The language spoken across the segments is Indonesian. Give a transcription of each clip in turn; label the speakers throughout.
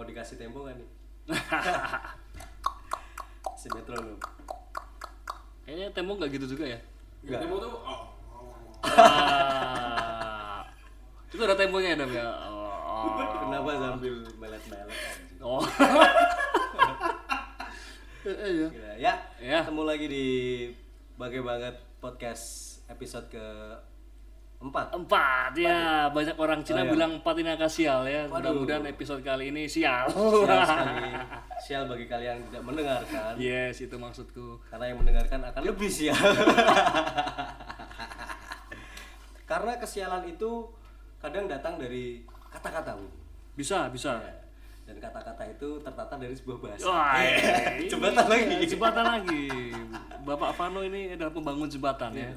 Speaker 1: dikasih tempo kan nih si metronom
Speaker 2: Kayaknya tembok nggak gitu juga ya.
Speaker 1: Enggak.
Speaker 3: Demo tuh oh.
Speaker 2: Ah. itu ada temponya Dam ya. Oh.
Speaker 1: kenapa sambil melet-melet anjing
Speaker 2: Oh. Iya.
Speaker 1: Gila. Ya,
Speaker 2: Ya.
Speaker 1: ketemu lagi di Bagai Banget Podcast episode ke empat.
Speaker 2: Empat ya, banyak orang
Speaker 1: Oh,
Speaker 2: Cina
Speaker 1: iya.
Speaker 2: bilang empat ini agak sial ya.
Speaker 1: Waduh.
Speaker 2: Mudah-mudahan episode kali ini sial.
Speaker 1: Sial sekali, sial bagi kalian yang tidak mendengarkan,
Speaker 2: yes, itu maksudku.
Speaker 1: karena yang mendengarkan akan lebih sial. karena kesialan itu kadang datang dari kata-kata, Bu.
Speaker 2: Bisa, bisa.
Speaker 1: Ya. Dan kata-kata itu tertata dari sebuah bahasa.
Speaker 2: Wah,
Speaker 1: Eh,
Speaker 2: ini-
Speaker 1: Jembatan lagi.
Speaker 2: Jembatan lagi. Bapak Fano ini adalah pembangun jembatan
Speaker 1: Iya.
Speaker 2: ya.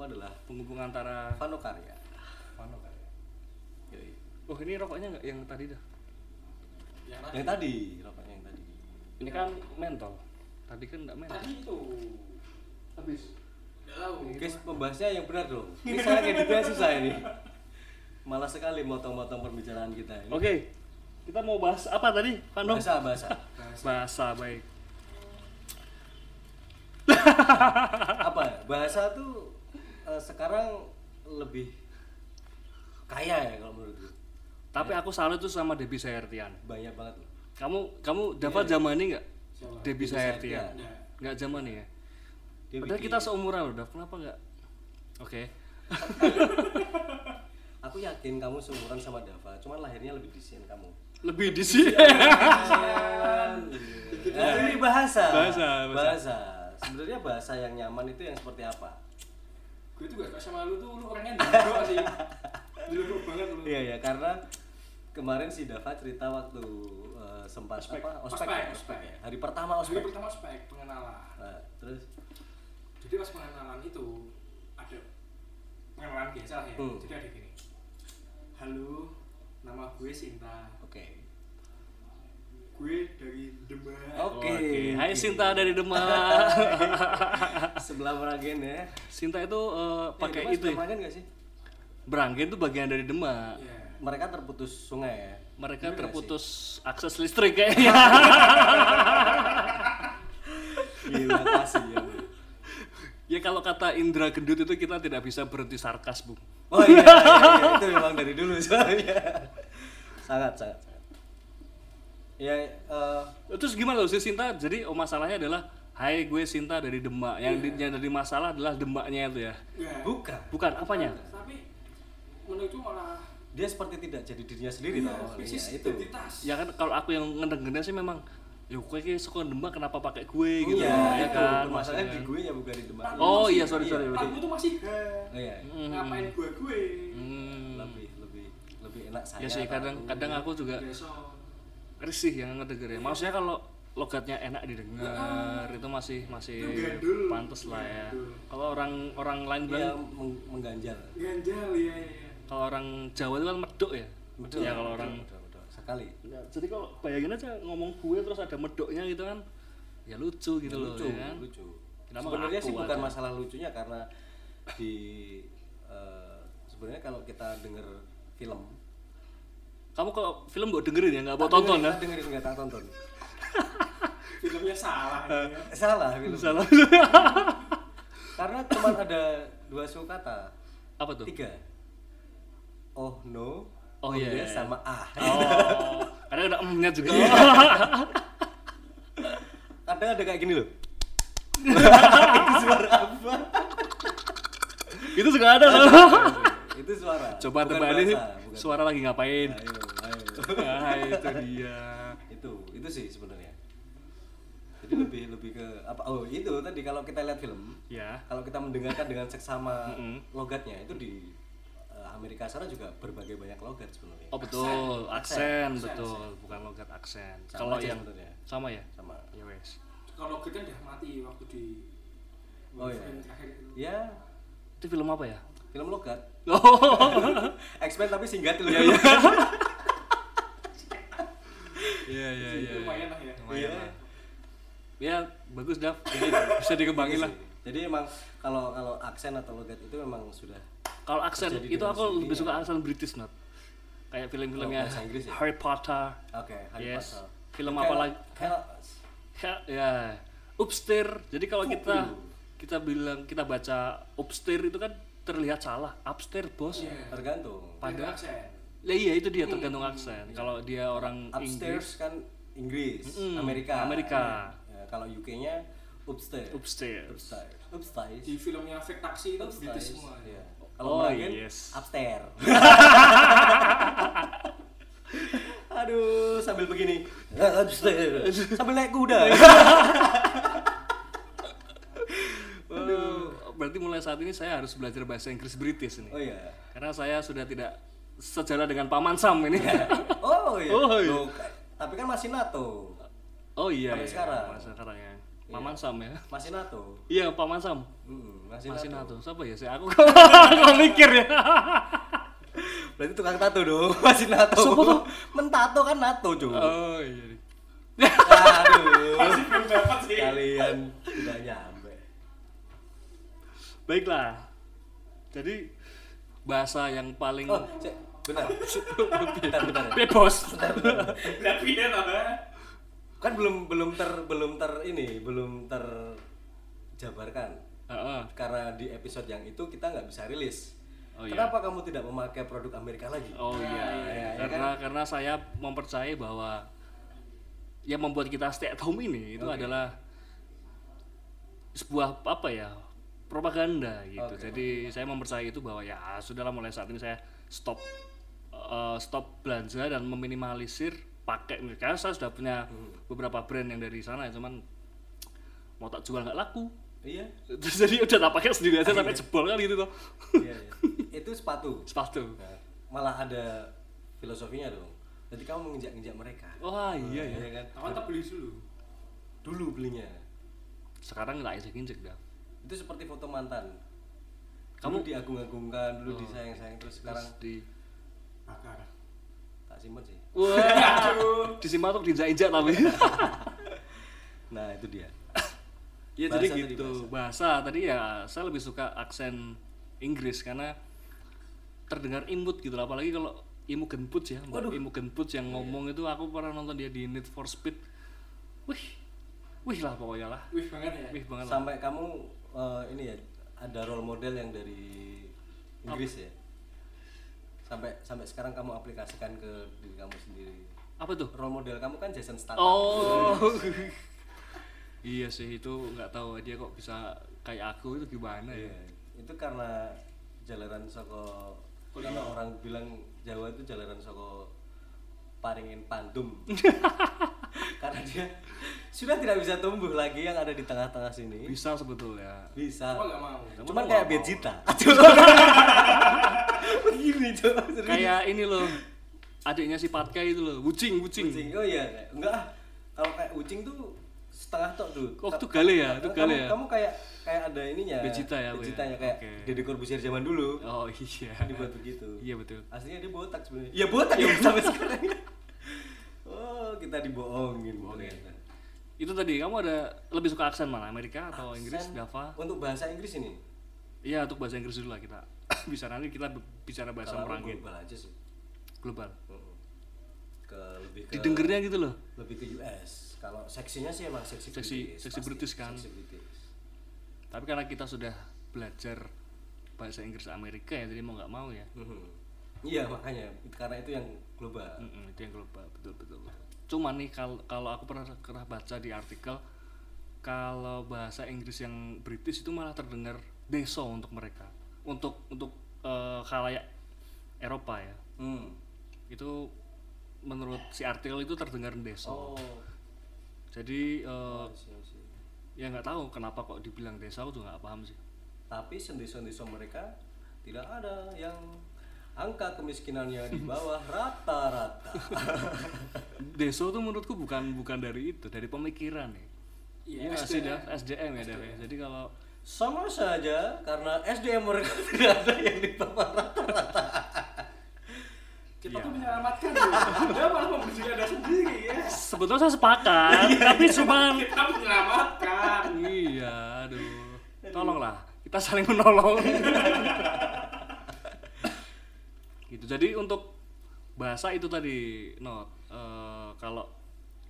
Speaker 1: Aku adalah
Speaker 2: Penghubung antara
Speaker 1: Vano Karya.
Speaker 3: Mana kali?
Speaker 1: Yoi.
Speaker 2: Oh, ini rokoknya nggak yang tadi dah.
Speaker 3: Yang
Speaker 1: Yang tadi, rokoknya yang tadi.
Speaker 2: Ini kan mentol. Tadi kan enggak mentol.
Speaker 3: tadi itu.
Speaker 2: Habis.
Speaker 3: Enggak tahu.
Speaker 1: Guys, membahasnya yang benar dong. Ini saya editnya susah ini. Malah sekali motong-motong perbicaraan kita ini.
Speaker 2: Oke. Kita mau bahas apa tadi, Fano?
Speaker 1: Bahasa bahasa.
Speaker 2: Bahasa, baik.
Speaker 1: Apa? ya? Bahasa tuh eh, sekarang lebih kaya ya kalau menurut gue.
Speaker 2: Tapi
Speaker 1: Ya.
Speaker 2: aku salut tuh sama Debbie Sahertian.
Speaker 1: Banyak banget loh.
Speaker 2: Kamu
Speaker 1: Iya.
Speaker 2: kamu dapat zaman ini nggak?
Speaker 3: Siapa?
Speaker 2: Debbie Sahertian.
Speaker 3: Enggak.
Speaker 2: Nggak zaman ini ya.
Speaker 1: Dia
Speaker 2: Padahal
Speaker 1: bikin-
Speaker 2: kita seumuran udah. Kenapa nggak? Oke.
Speaker 1: Aku yakin kamu seumuran sama Dava, cuman lahirnya lebih desain kamu.
Speaker 2: Lebih di sini.
Speaker 1: Iya. Nah, ini bahasa.
Speaker 2: Bahasa, bahasa.
Speaker 1: Bahasa. Sebenarnya bahasa yang nyaman itu yang seperti apa?
Speaker 3: Gue tuh gak suka sama lu tuh, lu orangnya dulu sih. Dulu banget lu.
Speaker 1: Iya ya, karena kemarin si Dava cerita waktu eh, sempat apa? Ospek.
Speaker 3: Ospek,
Speaker 1: ya?
Speaker 3: ospek.
Speaker 1: Hari pertama
Speaker 3: Jadi
Speaker 1: ospek.
Speaker 3: pertama spek pengenalan.
Speaker 1: Nah, terus
Speaker 3: Jadi pas pengenalan itu ada pengenalan biasa lah ya.
Speaker 1: Hmm.
Speaker 3: Jadi ada gini. Halo, nama gue Sinta.
Speaker 1: oke.
Speaker 3: Gue dari Demak.
Speaker 1: Oke.
Speaker 2: Hai
Speaker 1: oke.
Speaker 2: Sinta dari Demak.
Speaker 1: Sebelah Meragen ya.
Speaker 2: Sinta itu eh, pakai itu
Speaker 1: ya.
Speaker 2: ya.
Speaker 1: Meragen nggak sih?
Speaker 2: Beranggen itu bagian dari Demak.
Speaker 3: Iya.
Speaker 1: Mereka terputus sungai ya. Bener
Speaker 2: Mereka
Speaker 1: nggak
Speaker 2: terputus akses listrik kayaknya.
Speaker 1: Gila kasih ya. Bu.
Speaker 2: ya kalau kata Indra Gendut itu kita tidak bisa berhenti sarkas, Bung.
Speaker 1: Oh iya, iya, iya, itu memang dari dulu soalnya. sangat sangat. sangat. Ya eh,
Speaker 2: Terus gimana loh si Sinta? Jadi oh masalahnya adalah Hai gue Sinta dari Demak. Yang, di-
Speaker 1: Iya.
Speaker 2: yang dari masalah adalah Demaknya itu ya.
Speaker 3: Iya.
Speaker 1: bukan.
Speaker 2: Bukan apanya?
Speaker 3: Tapi menurutku malah
Speaker 1: Dia seperti tidak jadi dirinya sendiri
Speaker 3: Iya,
Speaker 1: tau awalnya,
Speaker 3: krisis
Speaker 1: itu. Iya.
Speaker 3: identitas.
Speaker 2: Ya kan kalau aku yang ngendeng-ngendeng sih memang Yo gue kayak suka Demak kenapa pakai gue gitu
Speaker 1: Iya,
Speaker 2: ya
Speaker 1: itu.
Speaker 2: kan.
Speaker 1: Masalahnya di
Speaker 2: maksudnya.
Speaker 1: gue ya bukan di demak.
Speaker 3: Tapi
Speaker 2: Oh
Speaker 3: masih-
Speaker 2: iya sorry sorry.
Speaker 3: Aku tuh masih ha.
Speaker 1: Oh, iya.
Speaker 3: Ngapain gue gue?
Speaker 2: Hmm.
Speaker 1: Lebih Iya, lebih lebih enak saya.
Speaker 2: Ya sih
Speaker 1: tau.
Speaker 2: kadang-kadang aku juga
Speaker 3: Besok.
Speaker 2: risih yang ngedengernya. Maksudnya kalau logatnya enak didengar itu masih masih
Speaker 3: Itu gandul.
Speaker 2: pantas lah ya.
Speaker 3: Gandul.
Speaker 2: Kalau orang orang lain
Speaker 1: dia
Speaker 2: bilang
Speaker 1: meng- mengganjal.
Speaker 3: Ganjal ya ya.
Speaker 2: kalau orang Jawa itu kan medok ya.
Speaker 1: Betul.
Speaker 2: Ya kalau orang
Speaker 1: betul, betul. sekali.
Speaker 2: Ya, jadi kalau bayangin aja ngomong gue terus ada medoknya gitu kan ya lucu gitu loh
Speaker 1: lucu,
Speaker 2: ya kan
Speaker 1: lucu.
Speaker 2: Kenapa
Speaker 1: Sebenarnya
Speaker 2: aku
Speaker 1: sih bukan
Speaker 2: aja?
Speaker 1: masalah lucunya karena di eh, sebenarnya kalau kita denger film
Speaker 2: kamu kalau film gak dengerin ya nggak mau
Speaker 1: Tak
Speaker 2: tonton
Speaker 1: dengerin,
Speaker 2: ya
Speaker 1: tak dengerin nggak tak tonton.
Speaker 3: Filmnya salah ya.
Speaker 1: Eh, Salah film.
Speaker 2: salah
Speaker 1: Karena cuma ada dua suku kata.
Speaker 2: apa tuh
Speaker 1: Tiga. Oh no.
Speaker 2: Oh, iya,
Speaker 1: yes
Speaker 2: iya.
Speaker 1: sama ah.
Speaker 2: oh karena ada emnya juga
Speaker 1: Iya. Kadang ada kayak gini loh. itu suara apa?
Speaker 2: itu juga ada kan
Speaker 1: itu suara.
Speaker 2: coba
Speaker 1: bukan
Speaker 2: tebakin
Speaker 1: bahasa, bukan-
Speaker 2: sih,
Speaker 1: Iya,
Speaker 2: suara lagi ngapain
Speaker 1: Ayo, ayo.
Speaker 2: nah, itu dia
Speaker 1: itu, itu sih sebenarnya. Jadi lebih lebih ke apa? Oh itu tadi kalau kita lihat film,
Speaker 2: ya
Speaker 1: kalau kita mendengarkan dengan seksama
Speaker 2: Mm-mm.
Speaker 1: logatnya itu di eh, Amerika sana juga berbagai banyak logat sebenarnya.
Speaker 2: oh betul aksen,
Speaker 3: Aksen,
Speaker 2: betul bukan logat aksen
Speaker 1: Sama
Speaker 2: kalau
Speaker 1: aja
Speaker 2: yang
Speaker 1: sebenarnya.
Speaker 2: sama ya
Speaker 1: Sama.
Speaker 2: ya wes
Speaker 3: Kalau gue kan udah mati waktu di
Speaker 1: Oh, iya.
Speaker 3: film terakhir itu.
Speaker 1: Ya,
Speaker 2: itu film apa ya
Speaker 1: film logat.
Speaker 2: oh
Speaker 1: Expand tapi singkat loh.
Speaker 2: iya iya
Speaker 3: Jadi lumayan lah ya.
Speaker 1: Iya.
Speaker 2: ya bagus Dav Jadi bisa dikembangin lah
Speaker 1: Jadi emang kalau kalau aksen atau logat itu memang sudah
Speaker 2: kalau aksen
Speaker 1: Terjadi
Speaker 2: itu
Speaker 1: dengan
Speaker 2: aku lebih
Speaker 1: sendirinya.
Speaker 2: suka aksen British not kayak
Speaker 1: Oh,
Speaker 2: film-filmnya
Speaker 1: bahasa Inggris ya?
Speaker 2: Harry Potter
Speaker 1: Oke, Harry
Speaker 2: yes
Speaker 1: Potter.
Speaker 2: film apa lagi
Speaker 1: Kayak
Speaker 2: ya, ya. upstairs jadi kalau kita kita bilang kita baca upstairs itu kan terlihat salah upstairs bos
Speaker 3: Iya.
Speaker 1: tergantung.
Speaker 2: Padahal-
Speaker 3: aksen.
Speaker 2: ya iya itu dia tergantung aksen kalau dia orang
Speaker 1: Hmm. Iya.
Speaker 2: Inggris
Speaker 1: Upstairs kan Inggris,
Speaker 2: Mm-mm,
Speaker 1: Amerika.
Speaker 2: Amerika.
Speaker 1: Ya, kalau UK-nya upstairs.
Speaker 2: upstairs
Speaker 1: Upstairs. Upstairs.
Speaker 3: Di filmnya efek taksi itu British semua.
Speaker 1: Iya.
Speaker 2: Oh,
Speaker 1: Kalau Merangin,
Speaker 2: yes.
Speaker 1: upstairs. Aduh, sambil begini. Upstairs. Sambil naik kuda.
Speaker 2: Iya. Aduh, berarti mulai saat ini saya harus belajar bahasa Inggris British ini
Speaker 1: Oh iya.
Speaker 2: karena saya sudah tidak sejalan dengan paman Sam ini
Speaker 1: Oh iya.
Speaker 2: Oh, iya.
Speaker 1: Loh, ka- tapi kan masih NATO.
Speaker 2: oh iya
Speaker 1: Sampai
Speaker 2: iya,
Speaker 1: sekarang.
Speaker 2: Mas, sekarang ya paman Sam ya
Speaker 1: Masih NATO.
Speaker 2: iya paman Sam
Speaker 1: Mm-mm, masih,
Speaker 2: masih
Speaker 1: NATO.
Speaker 2: nato siapa ya saya aku kok mikir ya
Speaker 1: Berarti tukang tato dong, masih NATO.
Speaker 2: Siapa tuh?
Speaker 1: Mentato kan NATO, cuy.
Speaker 2: oh iya
Speaker 1: Aduh.
Speaker 3: Masih belum dapat sih.
Speaker 1: Kalian tidak nyampe.
Speaker 2: baiklah jadi bahasa yang paling
Speaker 1: Oh, cek. Bentar. bentar, bentar.
Speaker 2: bebas
Speaker 3: Lah piye to, Mbak?
Speaker 1: Kan belum belum ter belum ter ini, belum terjabarkan.
Speaker 2: Heeh.
Speaker 1: Karena di episode yang itu kita nggak bisa rilis.
Speaker 2: Oh, iya.
Speaker 1: Kenapa kamu tidak memakai produk Amerika lagi?
Speaker 2: Oh iya,
Speaker 1: iya, iya
Speaker 2: karena karena saya mempercayai bahwa yang membuat kita stay at home ini itu adalah sebuah apa ya propaganda gitu.
Speaker 1: Oke.
Speaker 2: Jadi saya mempercayai itu bahwa ya sudahlah mulai saat ini saya stop eh, stop belanja dan meminimalisir pakai mereka. Saya sudah punya beberapa brand yang dari sana, cuman mau tak jual nggak laku.
Speaker 1: Iya.
Speaker 2: Terus Jadi udah tak pakai sendiri aja sampai jebol kan gitu tuh.
Speaker 1: Iya, iya. Itu sepatu.
Speaker 2: Sepatu.
Speaker 1: Nah, malah ada filosofinya dong. Jadi kamu menginjak-injak mereka.
Speaker 2: Wah iya ya.
Speaker 1: Iya kan?
Speaker 3: Kawan tak beli dulu.
Speaker 1: Dulu belinya.
Speaker 2: Sekarang nggak injek-injek dah.
Speaker 1: Itu seperti foto mantan. Kamu
Speaker 2: Kamu- Oh.
Speaker 1: diagung-agungkan, dulu disayang-sayang terus sekarang
Speaker 2: Terus di
Speaker 3: Bakar.
Speaker 1: tak simpen sih.
Speaker 2: Wah, di Simatok diinjak-injak tapi.
Speaker 1: Nah, itu dia.
Speaker 2: ya jadi
Speaker 1: Bahasa tadi,
Speaker 2: gitu. bahasa. tadi ya saya lebih suka aksen Inggris karena terdengar imut gitu lah. apalagi kalau Imu Genput ya. Mbak Imu Genput
Speaker 1: Iya,
Speaker 2: yang ngomong itu aku pernah nonton dia di Need for Speed. Wih. Wih lah pokoknya lah.
Speaker 3: Wih banget
Speaker 1: Iya.
Speaker 3: ya.
Speaker 2: Wih banget. lah.
Speaker 1: Sampai kamu eh, ini ya ada role model yang dari Inggris ya. Sampai sampai sekarang kamu aplikasikan ke diri kamu sendiri.
Speaker 2: Apa tuh?
Speaker 1: Role model kamu kan Jason Statham.
Speaker 2: Oh. iya sih itu nggak tahu dia kok bisa kayak aku itu gimana ya.
Speaker 1: Iya. Itu karena jalanan soko kalau orang bilang Jawa itu jalanan soko paringin pandum. karena dia sudah tidak bisa tumbuh lagi yang ada di tengah-tengah sini.
Speaker 2: Bisa sebetulnya.
Speaker 1: Bisa.
Speaker 3: Apa nggak mau?
Speaker 1: Cuman kayak Vegeta. Begini coba serius.
Speaker 2: Kayak ini loh. Adiknya si Patka itu loh, Wucing, Wucing.
Speaker 1: Ucing. Oh iya, enggak ah. Kalau kayak ucing tuh setengah tok tuh.
Speaker 2: Oh, itu gale ya, itu
Speaker 1: Kamu-
Speaker 2: gale ya.
Speaker 1: Kamu kayak kayak ada ininya.
Speaker 2: Vegeta ya, aku ya.
Speaker 1: Vegetanya kayak
Speaker 2: Oke.
Speaker 1: Deddy Corbuzier zaman dulu.
Speaker 2: Oh iya.
Speaker 1: Dibuat begitu.
Speaker 2: Iya betul.
Speaker 1: gitu. Aslinya dia botak sebenarnya. Iya botak ya sampai sekarang. Oh, kita dibohongin. ternyata.
Speaker 2: Itu tadi kamu ada lebih suka aksen mana? Amerika atau Inggris?
Speaker 1: Aksen
Speaker 2: Dava?
Speaker 1: Untuk bahasa Inggris ini.
Speaker 2: Iya untuk bahasa Inggris dulu lah kita. bisa nanti kita b- bicara bahasa
Speaker 1: Kalau aku
Speaker 2: merangin
Speaker 1: global aja sih.
Speaker 2: global.
Speaker 1: Mm-mm. Ke lebih ke
Speaker 2: Didengarnya gitu loh.
Speaker 1: lebih ke US. Kalau seksinya sih emang seksi
Speaker 2: Seksi-
Speaker 1: British.
Speaker 2: seksi
Speaker 1: pasti.
Speaker 2: British kan?
Speaker 1: Seksi British.
Speaker 2: Tapi karena kita sudah belajar bahasa Inggris Amerika ya, jadi mau nggak mau ya.
Speaker 1: Mhm. Iya makanya karena itu yang global.
Speaker 2: Mm-mm, itu yang global betul betul. betul. Cuman nih kal- kalau aku pernah pernah baca di artikel kalau bahasa Inggris yang British itu malah terdengar deso untuk mereka, untuk untuk eh, khalayak Eropa ya.
Speaker 1: Hmm.
Speaker 2: itu menurut si artikel itu terdengar deso
Speaker 1: Oh. iya
Speaker 2: jadi eh,
Speaker 1: I see, I see.
Speaker 2: ya nggak tahu kenapa kok dibilang desa aku juga nggak paham sih
Speaker 1: Tapi sendiso-sendiso mereka tidak ada yang angka kemiskinannya di bawah rata-rata.
Speaker 2: deso tuh menurutku bukan bukan dari itu dari pemikiran ya
Speaker 3: Iya,
Speaker 2: Iya, sih, Dav. SDM ya Dav, ya. jadi kalau
Speaker 1: Sama saja karena SDM mereka tidak ada yang di bawah rata-rata.
Speaker 3: Kita tuh menyelamatkan loh. Anda malah membenci Anda sendiri ya.
Speaker 2: sebetulnya saya sepakat tapi cuman
Speaker 3: Kita menyelamatkan.
Speaker 2: iya aduh tolonglah kita saling menolong gitu jadi untuk bahasa itu tadi not Eh, kalau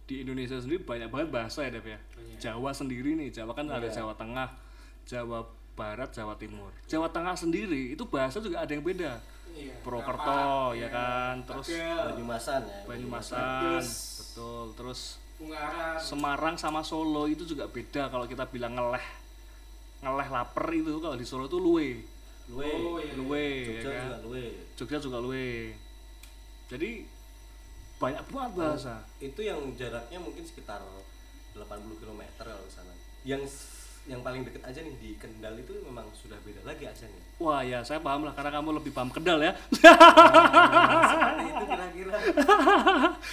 Speaker 2: di Indonesia sendiri banyak banget bahasa ya Dev ya Jawa sendiri nih Jawa kan ada Jawa Tengah Jawa Barat Jawa Timur Jawa Tengah sendiri itu bahasa juga ada yang beda
Speaker 3: Iya.
Speaker 2: Purwokerto ya kan terus
Speaker 3: Tegel,
Speaker 1: Banyumasan ya
Speaker 2: Banyumasan betul terus
Speaker 3: Ungaran,
Speaker 2: Semarang sama Solo itu juga beda kalau kita bilang ngeleh ngeleh lapar itu kalau di Solo itu luwe
Speaker 1: Luwe
Speaker 3: Oh, iya.
Speaker 2: luwe ya
Speaker 1: Jogja
Speaker 2: kan
Speaker 1: juga Luwe
Speaker 2: Jogja juga luwe jadi banyak banget bahasa
Speaker 1: itu yang jaraknya mungkin sekitar 80 km kalau ke sana yang s- yang paling deket aja nih di Kendal itu memang sudah beda lagi aksennya
Speaker 2: wah ya saya paham lah karena kamu lebih paham kedal ya
Speaker 1: seperti itu kira-kira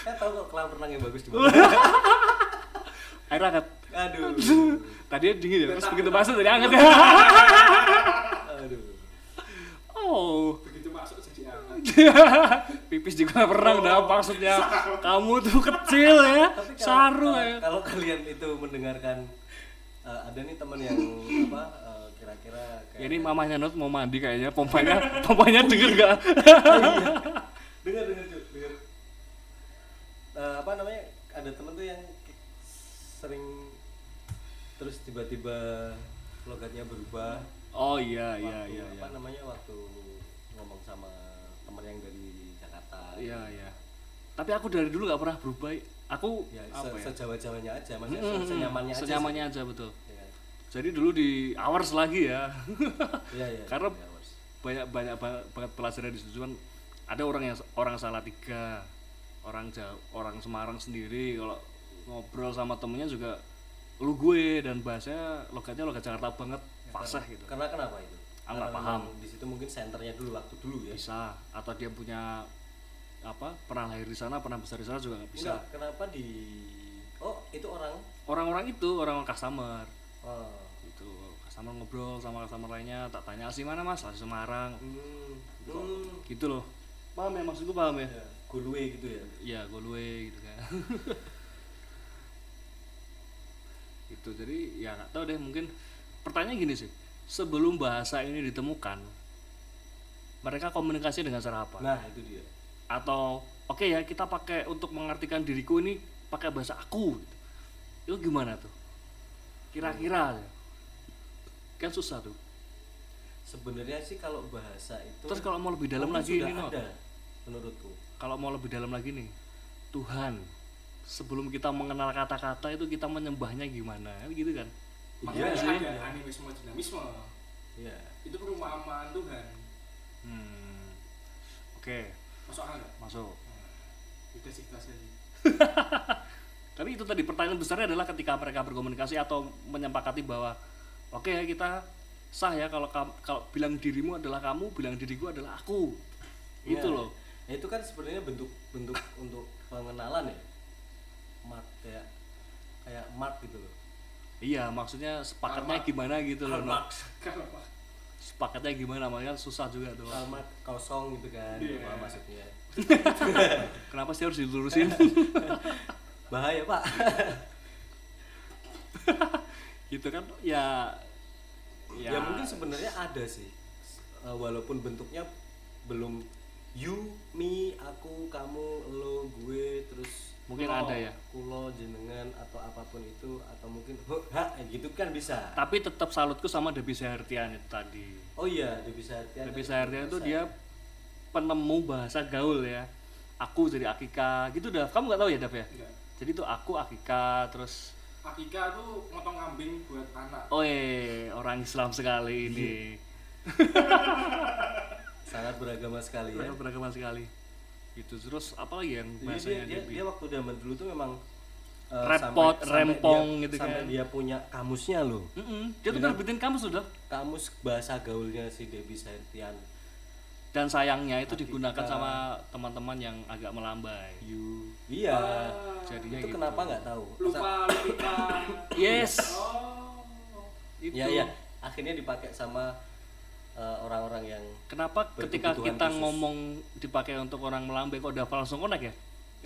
Speaker 1: saya tahu kok kolam renang yang bagus di bawah
Speaker 2: air hangat
Speaker 1: aduh
Speaker 2: tadinya dingin ya terus begitu masuk jadi hangat
Speaker 1: aduh
Speaker 2: oh
Speaker 3: begitu masuk jadi angan.
Speaker 2: Iya, pipis juga pernah dah maksudnya kamu tuh kecil ya
Speaker 1: Oh. tapi kalau,
Speaker 2: saru
Speaker 1: kalau-
Speaker 2: ya
Speaker 1: kalau kalian itu mendengarkan eh, ada nih teman yang apa eh, kira-kira kayak
Speaker 2: Ya, ini mamanya Not mau mandi kayaknya pompanya pompanya denger gak
Speaker 1: Iya. dengar dengar cuy dengar Eh, apa namanya ada temen tuh yang sering terus tiba-tiba logatnya berubah
Speaker 2: Oh iya iya
Speaker 1: waktu
Speaker 2: iya
Speaker 1: apa
Speaker 2: iya.
Speaker 1: namanya waktu ngomong sama temen yang dari Jakarta
Speaker 2: Iya iya. Tapi aku dari dulu nggak pernah berubah. Aku
Speaker 1: ya,
Speaker 2: apa ya?
Speaker 1: sejawa jawanya aja maksudnya
Speaker 2: Mm-mm,
Speaker 1: se- senyamannya aja
Speaker 2: senyamannya aja, betul.
Speaker 1: sih. Iya kan?
Speaker 2: Jadi dulu di hours lagi ya.
Speaker 1: iya iya
Speaker 2: Karena-
Speaker 1: iya, harus.
Speaker 2: banyak banyak ba- banget pelajaran di situ cuman ada orang yang orang salah tiga orang jauh orang Semarang sendiri kalau ngobrol sama temennya juga lu gue dan bahasanya logatnya logat Jakarta banget fasih gitu
Speaker 1: Ya, karena kan kenapa itu
Speaker 2: Aku nggak
Speaker 1: Karena
Speaker 2: paham.
Speaker 1: memang di situ mungkin senternya dulu waktu dulu ya
Speaker 2: bisa atau dia punya apa pernah lahir di sana pernah besar di sana juga nggak bisa
Speaker 1: Enggak, kenapa di oh itu orang
Speaker 2: orang-orang itu orang-orang customer
Speaker 1: oh.
Speaker 2: gitu customer ngobrol sama customer lainnya tak tanya asli mana mas asli Semarang
Speaker 1: hmm. hmm.
Speaker 2: gitu loh paham ya maksud gue paham ya
Speaker 1: ya, gulwe gitu ya
Speaker 2: ya golwe gitu kan itu jadi ya nggak tahu deh mungkin pertanyaan gini sih sebelum bahasa ini ditemukan mereka komunikasi dengan cara apa
Speaker 1: nah itu dia
Speaker 2: atau oke ya kita pakai untuk mengartikan diriku ini pakai bahasa aku gitu. itu gimana tuh
Speaker 1: Nah,
Speaker 2: kira-kira ya. kan susah tuh
Speaker 1: sebenarnya sih kalau bahasa itu
Speaker 2: terus kalau mau lebih dalam
Speaker 1: mungkin
Speaker 2: lagi
Speaker 1: sudah
Speaker 2: ini Not.
Speaker 1: ada menurutku
Speaker 2: kalau mau lebih dalam lagi nih Tuhan sebelum kita mengenal kata-kata itu kita menyembahnya gimana Kan gitu kan
Speaker 3: Makanya
Speaker 1: sih.
Speaker 3: ada animisme dinamisme.
Speaker 1: ya
Speaker 3: Itu perumpamaan Tuhan.
Speaker 2: hmm. oke
Speaker 3: Masuk akal nggak?
Speaker 2: masuk
Speaker 3: Hmm. Udah sih kita sendiri.
Speaker 2: tapi itu tadi pertanyaan besarnya adalah ketika mereka berkomunikasi atau menyepakati bahwa oke ya kita sah ya kalau kam- kalau bilang dirimu adalah kamu bilang diriku adalah aku
Speaker 1: Iya.
Speaker 2: itu loh
Speaker 1: Ya, itu kan sebenarnya bentuk bentuk untuk pengenalan ya mark kayak kayak mark gitu loh
Speaker 2: iya maksudnya sepakatnya gimana gitu loh Nok.
Speaker 3: Kenapa?
Speaker 2: sepakatnya gimana makanya susah juga tuh
Speaker 1: Karl Marx kosong gitu kan
Speaker 3: Iya.
Speaker 1: apa maksudnya
Speaker 2: kenapa sih harus dilurusin
Speaker 1: bahaya pak
Speaker 2: gitu kan ya
Speaker 1: ya, mungkin sebenarnya ada sih S- eh, walaupun bentuknya belum you me aku kamu lo gue terus
Speaker 2: Mungkin
Speaker 1: lo,
Speaker 2: ada ya.
Speaker 1: kulo jenengan atau apapun itu atau mungkin "Huh, ha eh, gitu kan bisa
Speaker 2: tapi tetap salutku sama Debbie Sahertian itu tadi
Speaker 1: oh iya dia bisa artian
Speaker 2: Debbie Sahertian itu dia penemu bahasa gaul ya aku jadi Akika gitu dah kamu nggak tahu ya Daf ya
Speaker 3: Enggak.
Speaker 2: jadi tuh aku Akika terus
Speaker 3: Akika tuh motong kambing buat anak.
Speaker 2: oe orang Islam sekali ini
Speaker 1: Iya. sangat beragama sekali ya
Speaker 2: Mereka beragama sekali gitu terus apalagi yang
Speaker 1: Jadi Iya, dia,
Speaker 2: bahasanya
Speaker 1: dia,
Speaker 2: Debbie
Speaker 1: dia waktu zaman dulu tuh memang eh,
Speaker 2: Repot, rempong
Speaker 1: dia,
Speaker 2: gitu
Speaker 1: sampai
Speaker 2: kan.
Speaker 1: dia punya kamusnya loh
Speaker 2: Mm-mm, dia
Speaker 1: Iya.
Speaker 2: tuh nerbitin kamu sudah
Speaker 1: kamus bahasa gaulnya si Debbie Sairtian
Speaker 2: dan sayangnya itu digunakan sama teman-teman yang agak melambai
Speaker 1: you iya
Speaker 2: jadinya
Speaker 1: itu
Speaker 2: gitu
Speaker 1: kenapa nggak tahu Sa-
Speaker 3: Lupa lupa.
Speaker 2: yes
Speaker 3: Oh.
Speaker 2: itu
Speaker 1: ya ya akhirnya dipakai sama eh, orang-orang yang
Speaker 2: Kenapa ketika
Speaker 1: Berkebutuhan
Speaker 2: kita
Speaker 1: khusus.
Speaker 2: ngomong dipakai untuk orang melambai kok udah langsung connect ya?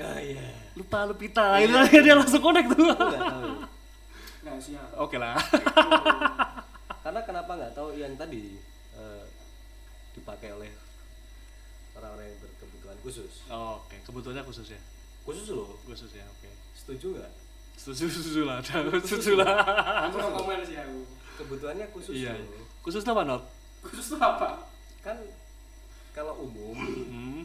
Speaker 1: ah iya
Speaker 2: Lupa lupita, itu dia langsung connect
Speaker 1: Aku
Speaker 2: tuh.
Speaker 1: nggak tahu
Speaker 3: Nah, siap.
Speaker 2: Oke lah.
Speaker 1: karena kenapa nggak tahu yang tadi eh, dipakai oleh orang-orang yang berkebutuhan khusus
Speaker 2: Oh, Oke, kebutuhannya khusus ya,
Speaker 1: khusus loh
Speaker 2: khusus ya. Oke,
Speaker 1: setuju nggak
Speaker 2: setuju setuju lah, ada, setuju lah.
Speaker 3: aku no comment sih aku
Speaker 1: kebutuhannya khusus
Speaker 2: Iya,
Speaker 1: loh
Speaker 2: khusus apa not?
Speaker 3: khusus tuh apa
Speaker 1: kan kalau umum
Speaker 2: Hmm.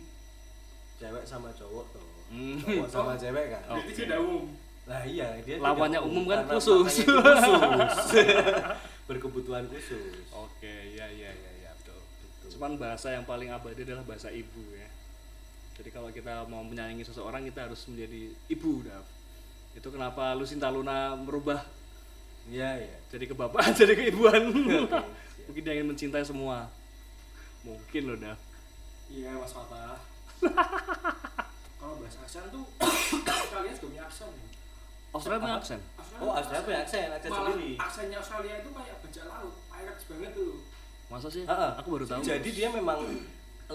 Speaker 1: cewek sama cowok tuh
Speaker 2: Hmm.
Speaker 1: cowok sama cewek kan
Speaker 2: Oh.
Speaker 3: berarti tidak umum
Speaker 1: Nah iya dia tidak
Speaker 2: Lawannya umum kan
Speaker 1: karena
Speaker 2: khusus.
Speaker 1: makanya itu khusus. Berkebutuhan khusus.
Speaker 2: Oke, ya ya ya ya betul. Cuman bahasa yang paling abadi adalah bahasa ibu ya. Jadi kalau kita mau menyayangi seseorang kita harus menjadi ibu, Dav. Itu kenapa Lucinta Luna merubah
Speaker 1: Iya iya.
Speaker 2: jadi kebapaan, jadi keibuan. Mungkin dia ingin mencintai semua. Mungkin loh, Dav.
Speaker 3: iya mas Fatah kalau bahas aksen tuh kalian juga punya aksen ya?
Speaker 2: Australia punya aksen.
Speaker 3: Australia
Speaker 1: Oh
Speaker 3: punya
Speaker 1: Australia punya aksen, aksen
Speaker 3: Malah
Speaker 1: sendiri.
Speaker 3: aksennya Australia itu kayak bajak laut pirates banget tuh
Speaker 2: Masa sih?
Speaker 1: Heeh.
Speaker 2: Aku baru tahu.
Speaker 1: Jadi dia memang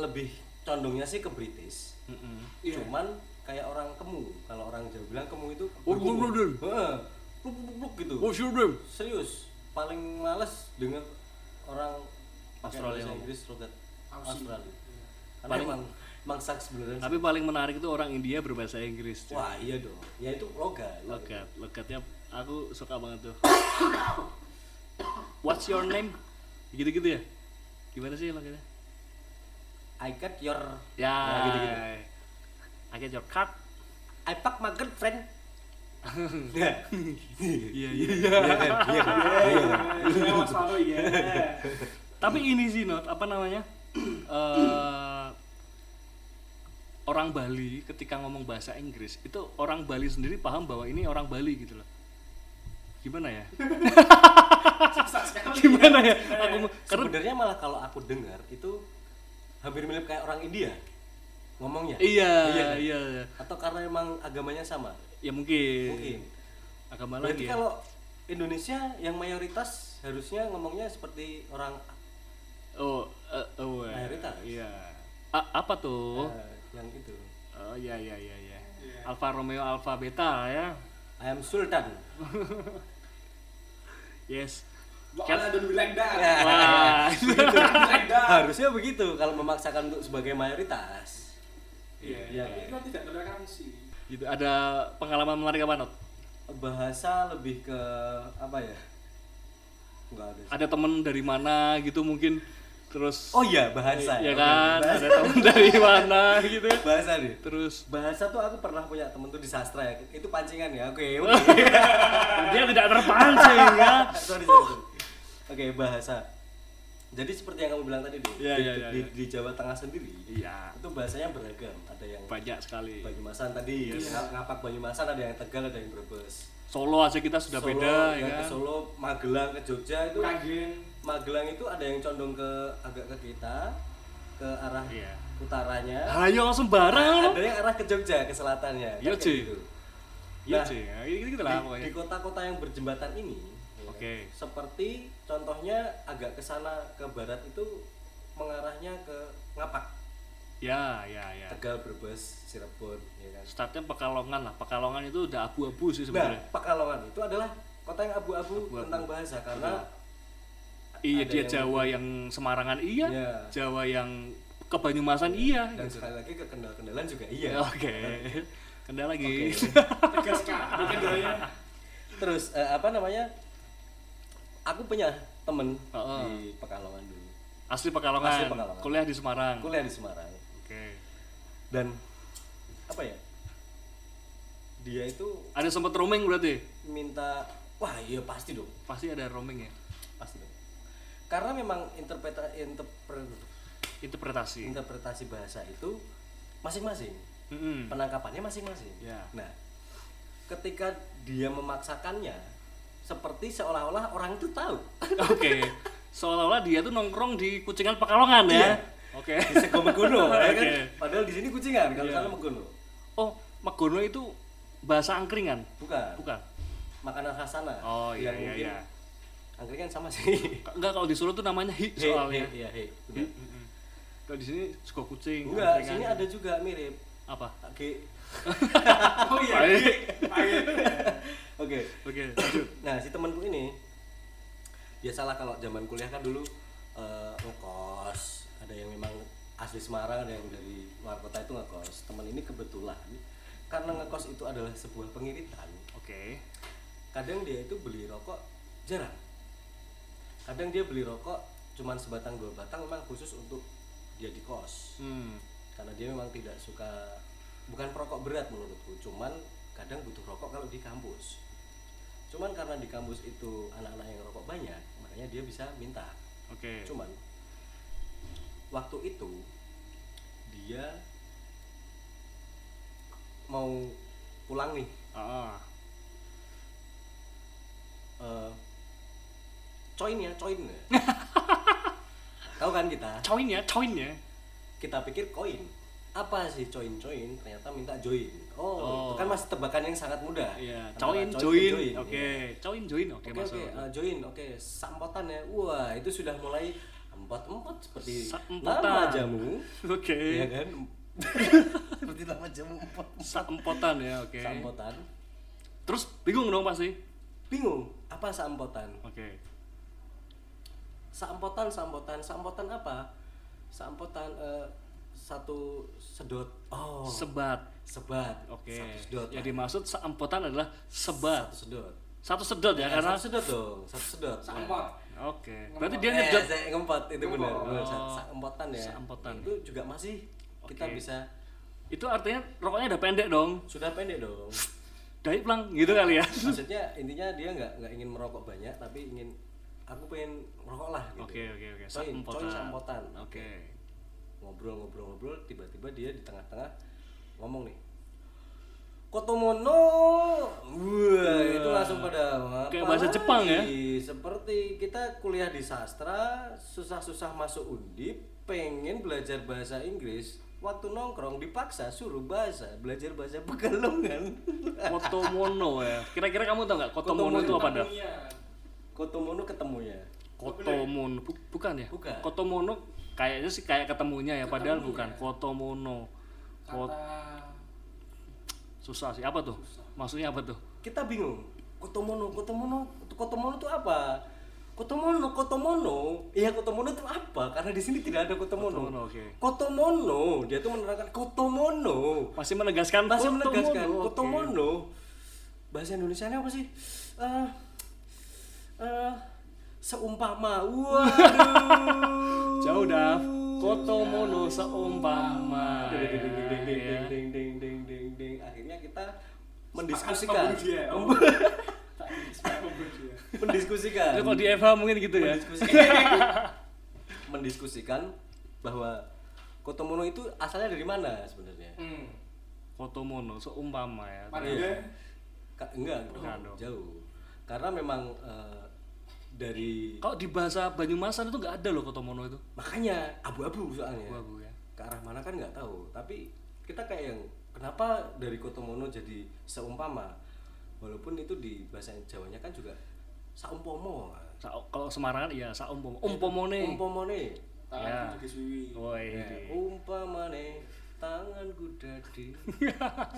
Speaker 1: lebih condongnya sih ke British.
Speaker 2: Mm-mm.
Speaker 3: Iya.
Speaker 1: Cuman kayak orang kemu. Kalau orang Jawa bilang kemu itu
Speaker 2: Oh, kemu, kemu, Oh. kemu.
Speaker 1: Heeh. Pluk, pluk, pluk, gitu.
Speaker 2: What's your name?
Speaker 1: Serius, paling males dengan orang pakai
Speaker 2: Australia
Speaker 1: bahasa
Speaker 2: ngomong.
Speaker 1: Inggris logat
Speaker 3: Aussie.
Speaker 1: Australia.
Speaker 3: Iya.
Speaker 1: Karena
Speaker 2: Paling-
Speaker 1: emang emang sak sebenarnya.
Speaker 2: Tapi paling menarik itu orang India berbahasa Inggris. cuy.
Speaker 1: Wah iya dong, ya itu logat.
Speaker 2: Logat, logatnya aku suka banget tuh. What's your name? Gitu-gitu ya. Gimana sih logatnya?
Speaker 1: I got your
Speaker 2: Ya,
Speaker 1: Nah,
Speaker 2: gitu-gitu.
Speaker 1: gitu-gitu.
Speaker 2: I get your card.
Speaker 1: I fuck my girlfriend. Iya.
Speaker 2: Iya, iya.
Speaker 1: Iya kan? Iya kan? Iya kan?
Speaker 3: iya mas Fatah iya
Speaker 2: Tapi ini sih not apa namanya? Eh, orang Bali ketika ngomong bahasa Inggris itu orang Bali sendiri paham bahwa ini orang Bali gitu loh. Gimana ya?
Speaker 3: susah sekali
Speaker 2: Gimana ya? Aku mau- karena
Speaker 1: Iya. Sebenarnya malah kalau aku dengar itu hampir mirip kayak orang India ngomongnya.
Speaker 2: iya,
Speaker 1: Iya
Speaker 2: iya,
Speaker 1: kan?
Speaker 2: iya.
Speaker 1: Atau karena emang agamanya sama.
Speaker 2: Ya mungkin.
Speaker 1: Mungkin.
Speaker 2: Agama
Speaker 1: Berarti
Speaker 2: lagi. ya.
Speaker 1: kalau Indonesia yang mayoritas harusnya ngomongnya seperti orang
Speaker 2: Oh, eh, oh, eh,
Speaker 1: Mayoritas.
Speaker 2: Iya. A- apa tuh?
Speaker 1: eh, yang itu.
Speaker 2: Oh iya iya iya iya.
Speaker 3: Iya.
Speaker 2: Alfa Romeo Alfa Beta ya.
Speaker 1: I am Sultan.
Speaker 2: Yes.
Speaker 3: Wah, don't be like that.
Speaker 1: Ya.
Speaker 2: Wah.
Speaker 3: Don't be like that.
Speaker 1: harusnya begitu kalau memaksakan untuk sebagai mayoritas.
Speaker 3: Iya,
Speaker 1: Iya.
Speaker 3: tapi itu kan tidak toleransi.
Speaker 2: gitu ada pengalaman menarik apa Not?
Speaker 1: bahasa lebih ke apa ya nggak ada sih.
Speaker 2: Ada temen dari mana gitu mungkin terus
Speaker 1: oh iya bahasa
Speaker 2: ya
Speaker 1: Oke,
Speaker 2: kan
Speaker 1: bahasa,
Speaker 2: ada temen dari mana gitu.
Speaker 1: bahasa nih
Speaker 2: Terus
Speaker 1: bahasa tuh aku pernah punya temen tuh di sastra ya itu pancingan ya oke oke
Speaker 2: dia tidak terpancing ya.
Speaker 1: sorry sorry, sorry. oke bahasa jadi seperti yang kamu bilang tadi di,
Speaker 2: Iya,
Speaker 1: di,
Speaker 2: iya, iya,
Speaker 1: di-
Speaker 2: iya.
Speaker 1: di Jawa Tengah sendiri
Speaker 2: Iya,
Speaker 1: itu bahasanya beragam ada yang
Speaker 2: banyak sekali.
Speaker 1: Banyumasan
Speaker 2: Iya.
Speaker 1: tadi nga- ngapak Banyumasan ada yang Tegal ada yang Brebes
Speaker 2: Solo aja kita sudah
Speaker 1: Solo,
Speaker 2: beda ya
Speaker 1: yang ke
Speaker 2: kan.
Speaker 1: Solo Magelang ke Jogja itu
Speaker 3: Kagen.
Speaker 1: Magelang itu ada yang condong ke agak ke kita ke arah
Speaker 2: Iya.
Speaker 1: utaranya
Speaker 2: Hayo sembarang.
Speaker 1: ada yang arah ke Jogja ke selatannya kan
Speaker 2: Iya,
Speaker 1: kayak
Speaker 2: cuy.
Speaker 1: gitu.
Speaker 2: Iya
Speaker 1: Nah,
Speaker 2: sih, ya, gitu-gitu lah
Speaker 1: di,
Speaker 2: pokoknya.
Speaker 1: di kota-kota yang berjembatan ini ya,
Speaker 2: Oke.
Speaker 1: seperti contohnya agak ke sana ke barat itu mengarahnya ke Ngapak
Speaker 2: Ya, ya, ya.
Speaker 1: Tegal Brebes Cirebon ya kan
Speaker 2: Startnya Pekalongan lah. Pekalongan itu udah abu-abu sih
Speaker 1: nah
Speaker 2: sebenarnya.
Speaker 1: Pekalongan itu adalah kota yang abu-abu
Speaker 2: Abu-abu.
Speaker 1: tentang bahasa karena
Speaker 2: iya,
Speaker 1: ada
Speaker 2: dia
Speaker 1: yang
Speaker 2: Jawa yang Semarangan iya,
Speaker 1: Iya.
Speaker 2: Jawa yang ke Banyumasan iya.
Speaker 1: dan sekali lagi ke kendal-kendalan juga
Speaker 2: Ya,
Speaker 1: iya
Speaker 2: Oke. Kendala lagi.
Speaker 3: Tegas sekali kan doanya.
Speaker 1: terus eh, apa namanya aku punya temen
Speaker 2: Heeh.
Speaker 1: di Pekalongan dulu
Speaker 2: Asli Pekalongan.
Speaker 1: Asli Pekalongan.
Speaker 2: Kuliah di Semarang. Oke.
Speaker 1: kuliah di Semarang dan apa ya dia itu
Speaker 2: Ada sempat roaming berarti?
Speaker 1: minta wah iya pasti dong
Speaker 2: Pasti ada roaming ya.
Speaker 1: pasti dong karena memang interpreta, interpre-
Speaker 2: Interpretasi.
Speaker 1: interpretasi bahasa itu masing-masing
Speaker 2: Mm-mm.
Speaker 1: penangkapannya masing-masing
Speaker 2: Hmm. Ya.
Speaker 1: nah ketika dia memaksakannya seperti seolah-olah orang itu tahu
Speaker 2: Oke. Seolah-olah dia tuh nongkrong di kucingan Pekalongan ya.
Speaker 1: Iya.
Speaker 2: Oke.
Speaker 1: di Sego Megono ya kan?
Speaker 2: Oke. Iya.
Speaker 1: padahal di sini kucingan kalau sana Megono
Speaker 2: Oh, Megono itu bahasa angkringan.
Speaker 1: bukan
Speaker 2: Bukan.
Speaker 1: makanan khas sana
Speaker 2: Oh iya
Speaker 1: yang Iya.
Speaker 2: iya
Speaker 1: mungkin
Speaker 2: iya.
Speaker 1: angkringan sama sih
Speaker 2: Enggak kalau di Solo tuh namanya hi
Speaker 1: Hei,
Speaker 2: soalnya.
Speaker 1: hei, iya, hei. Benar.
Speaker 2: Kalau di sini suka kucing.
Speaker 1: Enggak,
Speaker 2: angkringan.
Speaker 1: sini ada juga mirip.
Speaker 2: apa?
Speaker 1: Oke.
Speaker 3: Oh iya.
Speaker 2: Baik.
Speaker 3: Kagen.
Speaker 1: Oke.
Speaker 2: Oke, lanjut.
Speaker 1: Nah, si temanku ini ya biasalah kalau zaman kuliah kan dulu eh, ngekos, ada yang memang asli Semarang ada yang dari luar kota itu ngekos teman ini kebetulan karena ngekos itu adalah sebuah pengiritan
Speaker 2: Oke.
Speaker 1: kadang dia itu beli rokok jarang kadang dia beli rokok cuman sebatang dua batang memang khusus untuk dia di kos
Speaker 2: Hmm.
Speaker 1: karena dia memang tidak suka bukan perokok berat menurutku cuman kadang butuh rokok kalau di kampus cuman karena di kampus itu anak-anak yang rokok banyak makanya dia bisa minta
Speaker 2: Oke.
Speaker 1: cuman waktu itu dia mau pulang nih
Speaker 2: Ah.
Speaker 1: eh coin ya coin tahu kan kita
Speaker 2: Coin ya, coin ya.
Speaker 1: kita pikir koin apa sih coin coin ternyata minta join oh,
Speaker 2: Oh.
Speaker 1: itu kan masih tebakan yang sangat mudah
Speaker 2: Iya,
Speaker 1: Antara
Speaker 2: coin,
Speaker 1: ke
Speaker 2: join.
Speaker 1: join,
Speaker 2: Oke,
Speaker 1: ya.
Speaker 2: coin, join. Oke,
Speaker 1: oke
Speaker 2: masuk.
Speaker 1: oke eh, join oke sampotan ya wah itu sudah mulai empat empat seperti
Speaker 2: Sampotan.
Speaker 1: nama jamu
Speaker 2: Oke.
Speaker 1: ya kan seperti nama jamu empat
Speaker 2: Sampotan ya, oke.
Speaker 1: sampotan
Speaker 2: Terus bingung dong pasti.
Speaker 1: bingung apa sampotan
Speaker 2: Oke.
Speaker 1: sampotan sampotan sampotan apa sampotan eh, satu sedot oh
Speaker 2: Sebat.
Speaker 1: sebat
Speaker 2: Oke.
Speaker 1: satu sedot
Speaker 2: Yang
Speaker 1: lah.
Speaker 2: dimaksud sampotan adalah sebat.
Speaker 1: satu sedot
Speaker 2: Satu sedot ya,
Speaker 1: Eh,
Speaker 2: karena
Speaker 1: satu sedot dong satu sedot
Speaker 3: Sampot.
Speaker 2: Oke. Berarti
Speaker 1: Eh,
Speaker 2: dia Oh. nyedot.
Speaker 1: saya ngempot itu benar
Speaker 3: Ngempot.
Speaker 1: benar Sa- saempotan ya
Speaker 2: Saempotan.
Speaker 1: itu juga masih kita
Speaker 2: Oke.
Speaker 1: bisa
Speaker 2: Itu artinya rokoknya udah pendek dong.
Speaker 1: sudah pendek dong
Speaker 2: Dari pelang gitu kali ya.
Speaker 1: maksudnya intinya dia nggak nggak ingin merokok banyak tapi ingin aku pengen merokok lah gitu
Speaker 2: Oke, oke, oke.
Speaker 1: Coin, coin
Speaker 2: Sampotan.
Speaker 1: sampotan.
Speaker 2: Oke.
Speaker 1: ngobrol-ngobrol-ngobrol tiba-tiba dia di tengah-tengah ngomong nih Kotomono wah itu langsung pada
Speaker 2: Kayak
Speaker 1: "Apa
Speaker 2: bahasa
Speaker 1: lagi?"
Speaker 2: Jepang ya?
Speaker 1: seperti kita kuliah di sastra susah-susah masuk undip pengen belajar bahasa Inggris waktu nongkrong dipaksa suruh bahasa belajar bahasa pegalongan
Speaker 2: Kotomono ya. Kira-kira kamu tau nggak Kotomono itu apa dah?
Speaker 3: Iya.
Speaker 1: Kotomono ketemunya
Speaker 2: Kotomono Bu- bukan ya?
Speaker 1: Bukan.
Speaker 2: Kotomono kayaknya sih kayak ketemunya ya, padahal bukan Kotomono. Kot
Speaker 3: Kata
Speaker 2: susah sih apa tuh? Maksudnya apa tuh?
Speaker 1: kita bingung Kotomono Kotomono Kotomono itu apa Kotomono Kotomono iya Kotomono itu apa karena di sini tidak ada Kotomono
Speaker 2: Kotomono, oke.
Speaker 1: Kotomono dia tuh menerangkan Kotomono
Speaker 2: Masih menegaskan
Speaker 1: masih
Speaker 2: Kotomono,
Speaker 1: menegaskan
Speaker 2: oke.
Speaker 1: Kotomono bahasa Indonesia apa sih Eh eh, seumpama waduh
Speaker 2: Jauh dah. Kotomono seumpama.
Speaker 1: ding ding ding ding ding
Speaker 2: ya.
Speaker 1: ding ding ding ding ding ding akhirnya kita
Speaker 3: Sepakat
Speaker 1: mendiskusikan
Speaker 3: membunuh dia. Oh. Tak, sepakat membunuh dia.
Speaker 1: mendiskusikan
Speaker 2: Ya. Itu kalau di FH mungkin gitu ya.
Speaker 1: mendiskusikan mendiskusikan bahwa Kotomono itu asalnya dari mana sebenarnya?
Speaker 3: Hmm.
Speaker 2: Kotomono seumpama
Speaker 3: Iya.
Speaker 2: ya.
Speaker 3: Padahal
Speaker 1: Ka- enggak,
Speaker 2: Bukan dong.
Speaker 1: jauh. Karena memang eh, dari
Speaker 2: Kalau di bahasa Banyumasan itu nggak ada loh Kotomono itu.
Speaker 1: makanya abu-abu soalnya.
Speaker 2: Gua bu ya.
Speaker 1: Ke arah mana kan nggak tahu, tapi kita kayak yang kenapa dari Kotomono jadi seumpama? Walaupun itu di bahasa Jawanya kan juga saumpomo.
Speaker 2: Sa- Kalau Semarangan ya saumpomo. Umpomone.
Speaker 1: Umpomone.
Speaker 2: Ya.
Speaker 3: tangan juga suwi.
Speaker 2: Woi. Oh,
Speaker 1: umpamane tanganku dadi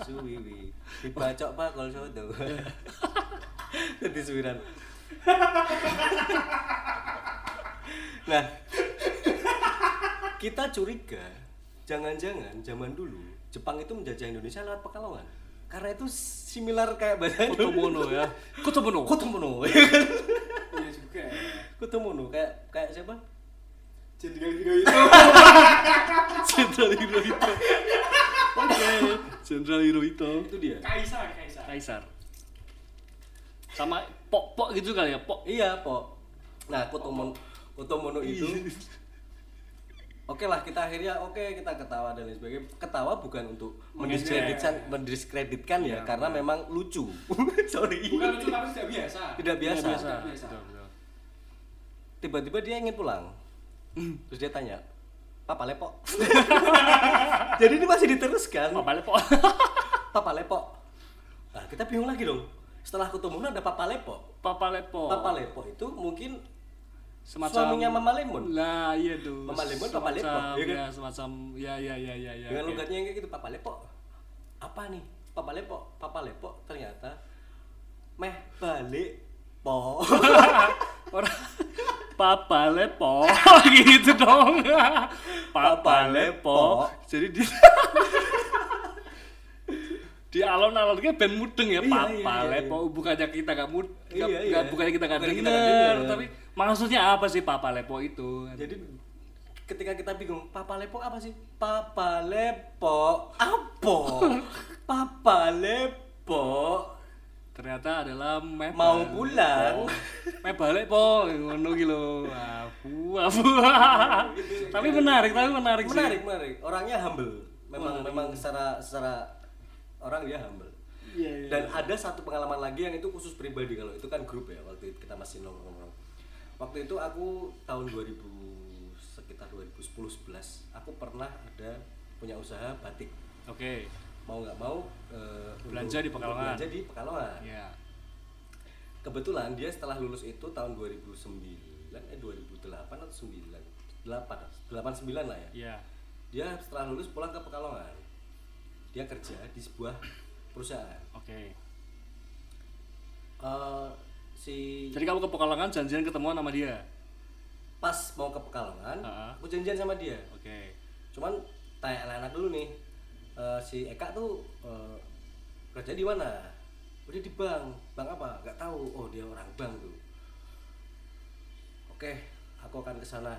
Speaker 1: suwiwi dibacok pakol soto jadi suwiran nah kita curiga jangan-jangan zaman dulu Jepang itu menjajah Indonesia lewat Pekalongan karena itu similar kayak bahasa
Speaker 2: Kotomono ya. Kotomono.
Speaker 1: Kutumono
Speaker 3: Iya juga. ya.
Speaker 1: Kutumono kayak kayak siapa
Speaker 3: Jadi gitu, kali video itu.
Speaker 2: Jenderal Hirohito. Oke, Jenderal Hirohito.
Speaker 1: itu dia
Speaker 3: Kaisar, Kaisar.
Speaker 2: Kaisar. Sama pok-pok gitu kali ya, pok.
Speaker 1: Iya, Po. Nah, Kotomono, Kotomono itu Oke lah, kita akhirnya oke kita ketawa dan lain sebagainya. Ketawa bukan untuk mendiskreditkan, mendiskreditkan ya, karena memang lucu. Sorry.
Speaker 3: Bukan lucu tapi tidak biasa.
Speaker 1: Tidak biasa.
Speaker 2: Tidak Iya, biasa.
Speaker 3: Tidak biasa.
Speaker 2: Betul, betul.
Speaker 1: Tiba-tiba dia ingin pulang. Terus dia tanya, "Papa Lepo." Jadi ini masih diteruskan.
Speaker 2: Papa lepok.
Speaker 1: Papa Lepo. Nah, kita bingung lagi dong. Setelah Kotomono ada Papa Lepo.
Speaker 2: Papa lepok.
Speaker 1: Papa Lepo itu mungkin
Speaker 2: Semacam
Speaker 1: suaminya Mama Lemon.
Speaker 2: Lah, iya tuh.
Speaker 1: Mama lemon, papa
Speaker 2: Semacam,
Speaker 1: lepok, iya kan?
Speaker 2: Ya, semacam ya ya ya ya ya.
Speaker 1: dengan
Speaker 2: oke.
Speaker 1: logatnya yang kayak gitu papa lepo apa nih papa lepo papa lepo ternyata meh balik po
Speaker 2: Orang- Papa lepok gitu dong. Papa Lepo. Jadi di di alon-alon kayak band mudeng ya,
Speaker 1: Iya,
Speaker 2: Papa
Speaker 1: iya, iya,
Speaker 2: Lepo. Bukannya kita gak mud,
Speaker 1: Iya,
Speaker 2: gak,
Speaker 1: iya.
Speaker 2: gak- bukannya kita gak
Speaker 1: Bukannya kita
Speaker 2: denger,
Speaker 1: nggak denger.
Speaker 2: tapi maksudnya apa sih Papa Lepo itu?
Speaker 1: Jadi ketika kita bingung, Papa Lepo apa sih? Papa Lepo apa? Papa Lepo
Speaker 2: ternyata adalah meh
Speaker 1: mau pulang.
Speaker 2: meh balik po ngono gitu lho abu abu tapi menarik tapi menarik sih
Speaker 1: Iya,
Speaker 2: iya.
Speaker 1: Menarik, menarik. Orangnya humble. Memang memang secara secara orang dia humble. Dan ada satu pengalaman lagi yang itu khusus pribadi kalau itu kan grup ya waktu itu kita masih nongkrong-nongkrong. Waktu itu aku tahun 2000 sekitar 2010 11 aku pernah ada punya usaha batik.
Speaker 2: oke
Speaker 1: Mau nggak mau eh, untuk-
Speaker 2: Belanja di Pekalongan.
Speaker 1: untuk Belanja di Pekalongan.
Speaker 2: ya
Speaker 1: Kebetulan dia setelah lulus itu tahun 2009 eh 2008 atau 9 8 89 lah ya.
Speaker 2: ya
Speaker 1: Dia setelah lulus pulang ke Pekalongan. Dia kerja di sebuah perusahaan.
Speaker 2: oke
Speaker 1: Eh, si
Speaker 2: jadi kamu ke Pekalongan janjian ketemuan sama dia
Speaker 1: pas mau ke Pekalongan,
Speaker 2: Ha-ha.
Speaker 1: aku janjian sama dia.
Speaker 2: oke
Speaker 1: Cuman tanya anak-anak dulu nih, eh, si Eka tuh eh, kerja di mana? Udah di bank, bank apa? Gak tahu. Oh dia orang bank tuh. Oke, aku akan ke sana.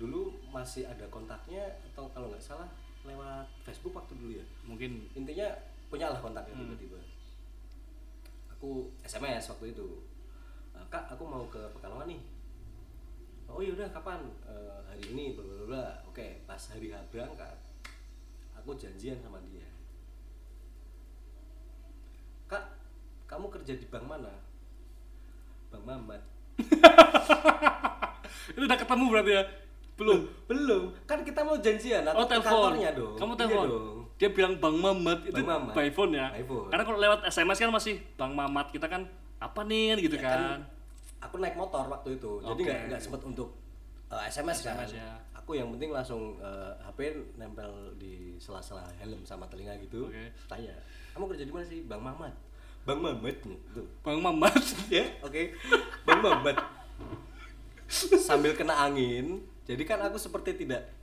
Speaker 1: Dulu masih ada kontaknya atau kalau nggak salah lewat Facebook waktu dulu ya.
Speaker 2: mungkin
Speaker 1: Intinya punya lah kontaknya
Speaker 2: Hmm.
Speaker 1: tiba-tiba. Aku SMS waktu itu. "Eh, Kak, aku mau ke Pekalongan nih. oh yaudah kapan Eh, hari ini bla bla, bla bla oke pas hari H berangkat aku janjian sama dia kak kamu kerja di bank mana bank Mamat
Speaker 2: itu udah ketemu berarti ya belum
Speaker 1: belum kan kita mau janjian aku
Speaker 2: oh
Speaker 1: ke
Speaker 2: telepon
Speaker 1: kantornya dong
Speaker 2: kamu
Speaker 1: Iya
Speaker 2: telepon
Speaker 1: dong.
Speaker 2: dia bilang Bang Mamat itu
Speaker 1: Bang Mamat.
Speaker 2: by phone ya
Speaker 1: By phone.
Speaker 2: karena kalau lewat SMS kan masih Bang Mamat kita kan apa nih gitu
Speaker 1: Ya
Speaker 2: kan,
Speaker 1: kan, aku naik motor waktu itu jadi
Speaker 2: Oke.
Speaker 1: nggak nggak sempat untuk eh, SMS, kan
Speaker 2: SMS ya.
Speaker 1: aku yang penting langsung eh, HP nempel di sela-sela helm sama telinga gitu
Speaker 2: Oke.
Speaker 1: tanya kamu kerja di mana sih Bang Mamat Bang Mamat nih tuh
Speaker 2: Bang Mamat
Speaker 1: ya oke Bang Mamat sambil kena angin jadi kan aku seperti tidak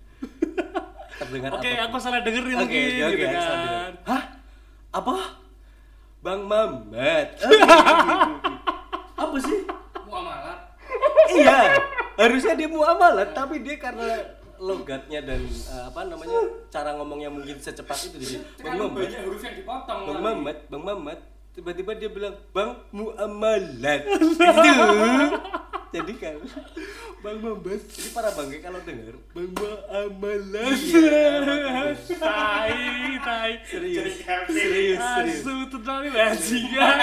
Speaker 1: terdengar
Speaker 2: Oke,
Speaker 1: apa-apa.
Speaker 2: aku salah denger nih
Speaker 1: Oke,
Speaker 2: mungkin
Speaker 1: oke, oke,
Speaker 2: gitu
Speaker 1: aku salah
Speaker 2: kan.
Speaker 1: denger. Hah? Apa? Bang Mamat apa sih
Speaker 3: muamalat
Speaker 1: iya harusnya dia muamalat tapi dia karena logatnya dan eh, apa namanya cara ngomongnya mungkin secepat itu jadi bang
Speaker 3: kan
Speaker 1: Mamat
Speaker 3: banyak huruf yang dipotong
Speaker 1: bang
Speaker 3: lagi.
Speaker 1: Mamat bang Mamat tiba-tiba dia bilang bang muamalat gitu jadi kan bang Mamat jadi para bangke kalau dengar bang muamalat
Speaker 2: Tai, tai.
Speaker 1: Iya, serius serius serius
Speaker 2: Asu ya, tenang nih bajingan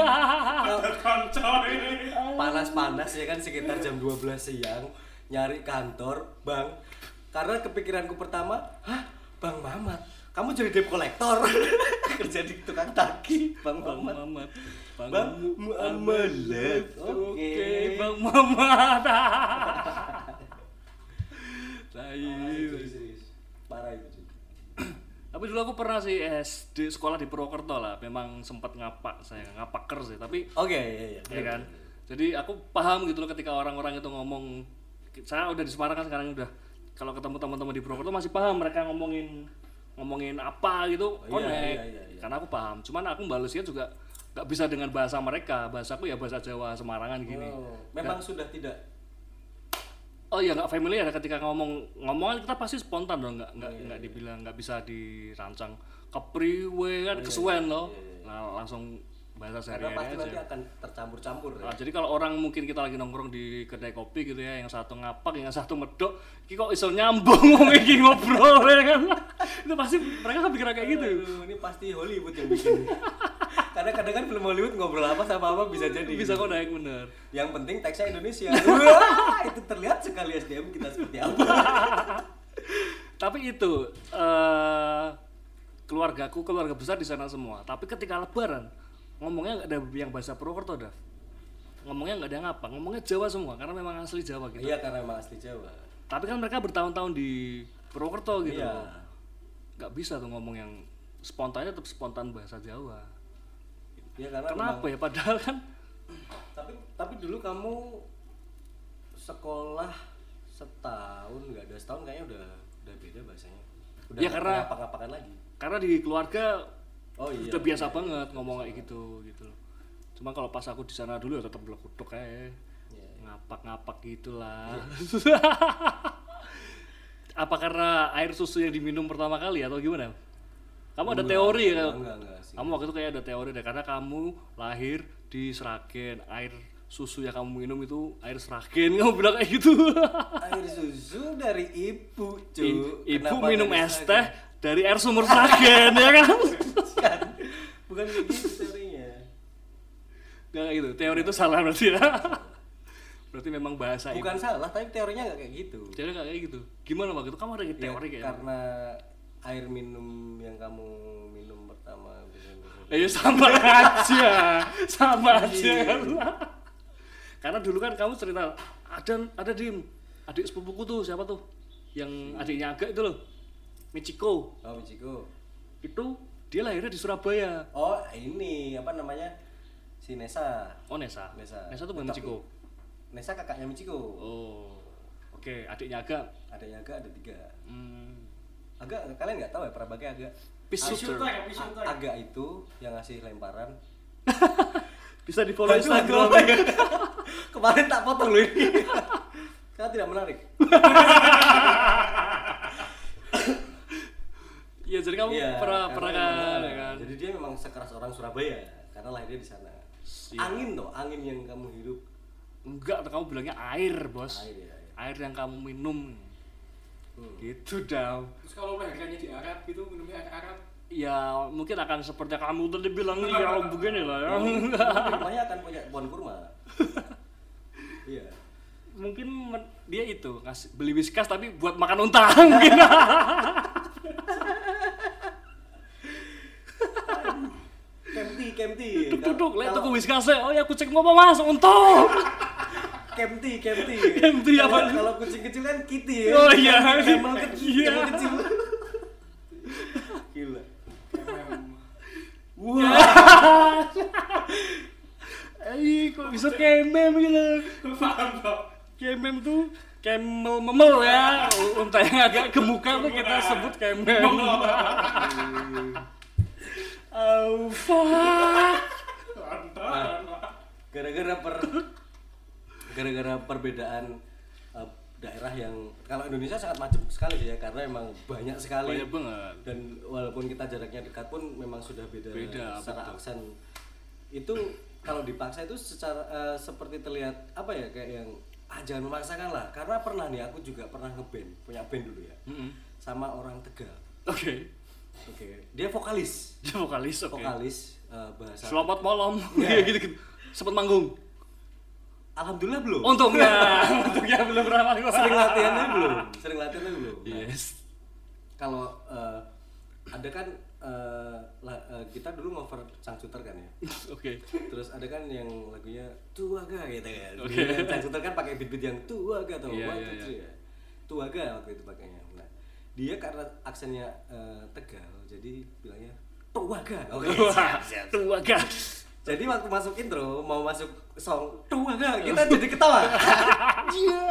Speaker 3: Ada konco ini.
Speaker 1: panas-panas ya kan sekitar jam 12 siang nyari kantor bang karena kepikiranku pertama hah bang Mamat kamu jadi debt kolektor kerja di tukang tagih bang
Speaker 2: Bang
Speaker 1: Mamat
Speaker 2: Mamat.
Speaker 1: bang Muamalat oke
Speaker 2: Oke, Bang Mamat. Tai. iya,
Speaker 1: parah itu cuy.
Speaker 2: Tapi dulu aku pernah sih SD sekolah di Purwokerto lah, memang sempat ngapak saya, ngapaker sih, tapi
Speaker 1: oke iya iya
Speaker 2: ya kan jadi aku paham gitu loh ketika orang-orang itu ngomong saya udah di Semarang kan sekarang udah kalau ketemu teman-teman di Purwokerto masih paham mereka ngomongin ngomongin apa gitu
Speaker 1: iya,
Speaker 2: connect
Speaker 1: iya, iya, iya.
Speaker 2: karena aku paham cuman aku balesnya juga nggak bisa dengan bahasa mereka bahasaku ya bahasa Jawa Semarangan gini
Speaker 1: Oh, memang sudah tidak
Speaker 2: oh ya nggak familiar ya ketika ngomong ngomongan kita pasti spontan dong nggak
Speaker 1: Iya,
Speaker 2: nggak nggak dibilang nggak bisa dirancang kepriwe
Speaker 1: Iya,
Speaker 2: kan kesuwen loh nah langsung bahasa
Speaker 1: karena
Speaker 2: sehari-hari
Speaker 1: iya. pasti
Speaker 2: aja
Speaker 1: nanti akan tercampur-campur ya.
Speaker 2: Nah, jadi kalau orang mungkin kita lagi nongkrong di kedai kopi gitu ya, yang satu ngapak, yang satu medok, iki kok iso nyambung wong iki ngobrol ya kan. Itu pasti mereka kepikiran kayak gitu.
Speaker 1: Aduh, ini pasti Hollywood yang bikin karena kadang kan film Hollywood ngobrol apa sama apa bisa jadi
Speaker 2: Bisa kok naik bener.
Speaker 1: Yang penting teksnya Indonesia. Wah, itu terlihat sekali SDM kita seperti apa.
Speaker 2: Tapi itu eh keluargaku, keluarga besar di sana semua. Tapi ketika lebaran ngomongnya nggak ada yang bahasa Purwokerto, Dav. Ngomongnya nggak ada yang apa, ngomongnya Jawa semua karena memang asli Jawa gitu.
Speaker 1: Iya karena emang asli Jawa.
Speaker 2: Tapi kan mereka bertahun-tahun di Purwokerto gitu.
Speaker 1: Iya.
Speaker 2: loh. nggak bisa tuh ngomong yang spontannya tetap spontan bahasa Jawa.
Speaker 1: Iya karena
Speaker 2: Kenapa ya? Padahal kan
Speaker 1: emang- tapi tapi dulu kamu sekolah setahun nggak ada setahun kayaknya udah udah beda bahasanya udah
Speaker 2: Ya, karena-
Speaker 1: apa-apakan lagi
Speaker 2: karena di keluarga
Speaker 1: oh iya
Speaker 2: udah biasa banget ngomong kayak gitu gitu loh cuma kalau pas aku di sana dulu ya tetap belekutuk kayak
Speaker 1: Iya.
Speaker 2: ngapak-ngapak gitu gitulah apa karena air susu yang diminum pertama kali atau gimana kamu ada teori
Speaker 1: enggak
Speaker 2: ya
Speaker 1: enggak, enggak sih
Speaker 2: kamu waktu itu kayak ada teori deh karena kamu lahir di Seragen air susu yang kamu minum itu air Seragen kamu bilang kayak gitu
Speaker 1: air susu dari ibu cu
Speaker 2: I- ibu
Speaker 1: Kenapa
Speaker 2: minum
Speaker 1: dari
Speaker 2: es
Speaker 1: Sragen?
Speaker 2: teh dari air sumur Seragen ya kan
Speaker 1: Bukan. bukan kayak gitu teorinya
Speaker 2: Gak kayak gitu, teori itu salah berarti ya Berarti memang bahasa ibu
Speaker 1: bukan salah tapi teorinya nggak kayak gitu
Speaker 2: Teori gak kayak gitu Gimana waktu itu? Kamu ada
Speaker 1: Ya,
Speaker 2: teori kayak gitu?
Speaker 1: karena air minum yang kamu minum pertama bisa- bisa-
Speaker 2: Ya sama aja Sama aja Karena dulu kan kamu cerita Ada, ada Dim Adik sepupuku tuh, siapa tuh? Yang adiknya agak itu loh Michiko
Speaker 1: oh Michiko
Speaker 2: Itu dia lahirnya di Surabaya
Speaker 1: oh ini apa namanya si Nesa
Speaker 2: Oh Nesa
Speaker 1: Nesa.
Speaker 2: Nesa tuh bukan
Speaker 1: Tapi-
Speaker 2: Michiko
Speaker 1: Nesa kakaknya Michiko
Speaker 2: Oh Oke, adiknya agak
Speaker 1: adanya agak ada tiga
Speaker 2: hmm,
Speaker 1: agak kalian nggak tahu ya prabagai agak
Speaker 2: Peace shooter
Speaker 3: Asyutek, asyutek.
Speaker 1: A- agak itu yang ngasih lemparan
Speaker 2: Bisa di follow
Speaker 1: Aduh,
Speaker 2: Instagram
Speaker 1: aduh, aduh. kemarin tak potong loh ini karena tidak menarik
Speaker 2: Iya, jadi kamu
Speaker 1: Iya,
Speaker 2: pernah
Speaker 1: karena
Speaker 2: pernah
Speaker 1: memang-
Speaker 2: kan, ya kan?
Speaker 1: jadi dia memang sekeras orang Surabaya karena lahirnya di sana
Speaker 2: Iya.
Speaker 1: angin tuh angin yang kamu hidup
Speaker 2: Enggak, kamu bilangnya air, bos. Air,
Speaker 1: air ya air.
Speaker 2: yang kamu minum.
Speaker 1: Hmm.
Speaker 2: Gitu, Dam.
Speaker 3: Terus kalau harganya di Arab gitu minumnya air Arab.
Speaker 2: Ya, mungkin akan seperti kamu tadi bilang nih, kalau begini lah ya.
Speaker 1: Nanti rumahnya akan punya pohon kurma iya
Speaker 2: mungkin men- dia itu, ngasih, beli whiskas tapi buat makan unta Gitu. mungkin.
Speaker 1: Iya. Kemti, Kemti.
Speaker 2: Duduk,
Speaker 1: Kalau-
Speaker 2: lihat tuku
Speaker 1: kalau-
Speaker 2: whiskas Oh ya, aku cek ngomong mas, unta.
Speaker 1: Kemti, Kemti.
Speaker 2: Kemti
Speaker 1: Kalau-
Speaker 2: apa?
Speaker 1: Kalau kucing kecil kan Kitty ya.
Speaker 2: Oh iya.
Speaker 1: Camel kecil.
Speaker 2: Iya.
Speaker 1: camel kecil. Gila. Wah,
Speaker 2: Eh, kok bisa kemem gitu?
Speaker 3: Paham kok.
Speaker 2: Kemem tuh kemel memel ya. Unta yang agak gemukan tuh kita sebut kemem. Oh fuck.
Speaker 3: Mantap.
Speaker 1: gara-gara per gara-gara perbedaan eh, daerah yang kalau Indonesia sangat macam sekali sih ya karena emang banyak sekali
Speaker 2: Banyak banget.
Speaker 1: dan walaupun kita jaraknya dekat pun memang sudah beda,
Speaker 2: Beda,
Speaker 1: secara aksen itu kalau dipaksa itu secara eh, seperti terlihat apa ya kayak yang ah jangan memaksakan lah karena pernah nih aku juga pernah ngeband punya band dulu ya
Speaker 2: Mm-mm.
Speaker 1: sama orang tegal
Speaker 2: Oke.
Speaker 1: oke dia vokalis
Speaker 2: Dia vokalis oke.
Speaker 1: vokalis eh, bahasa
Speaker 2: Selamat malam. Iya gitu gitu. Sempat manggung.
Speaker 1: alhamdulillah belum
Speaker 2: Untungnya, untungnya belum pernah manggung.
Speaker 1: sering latihannya belum sering latihannya belum Nah,
Speaker 2: Yes.
Speaker 1: kalau eh, ada kan eh, la- eh, kita dulu ngover cangcuter kan ya
Speaker 2: Oke.
Speaker 1: terus ada kan yang lagunya tuaga gitu kan
Speaker 2: Oke.
Speaker 1: Jadi kan cangcuter kan pakai beat-beat yang tuaga atau
Speaker 2: Iya,
Speaker 1: one,
Speaker 2: iya,
Speaker 1: two, three ya tuaga waktu itu pakainya nah dia karena aksennya eh, tegal jadi bilangnya tuaga Oh, iya. oke siap, siap.
Speaker 2: Tua gas.
Speaker 1: jadi waktu masuk intro mau masuk song tuaga kita jadi ketawa iya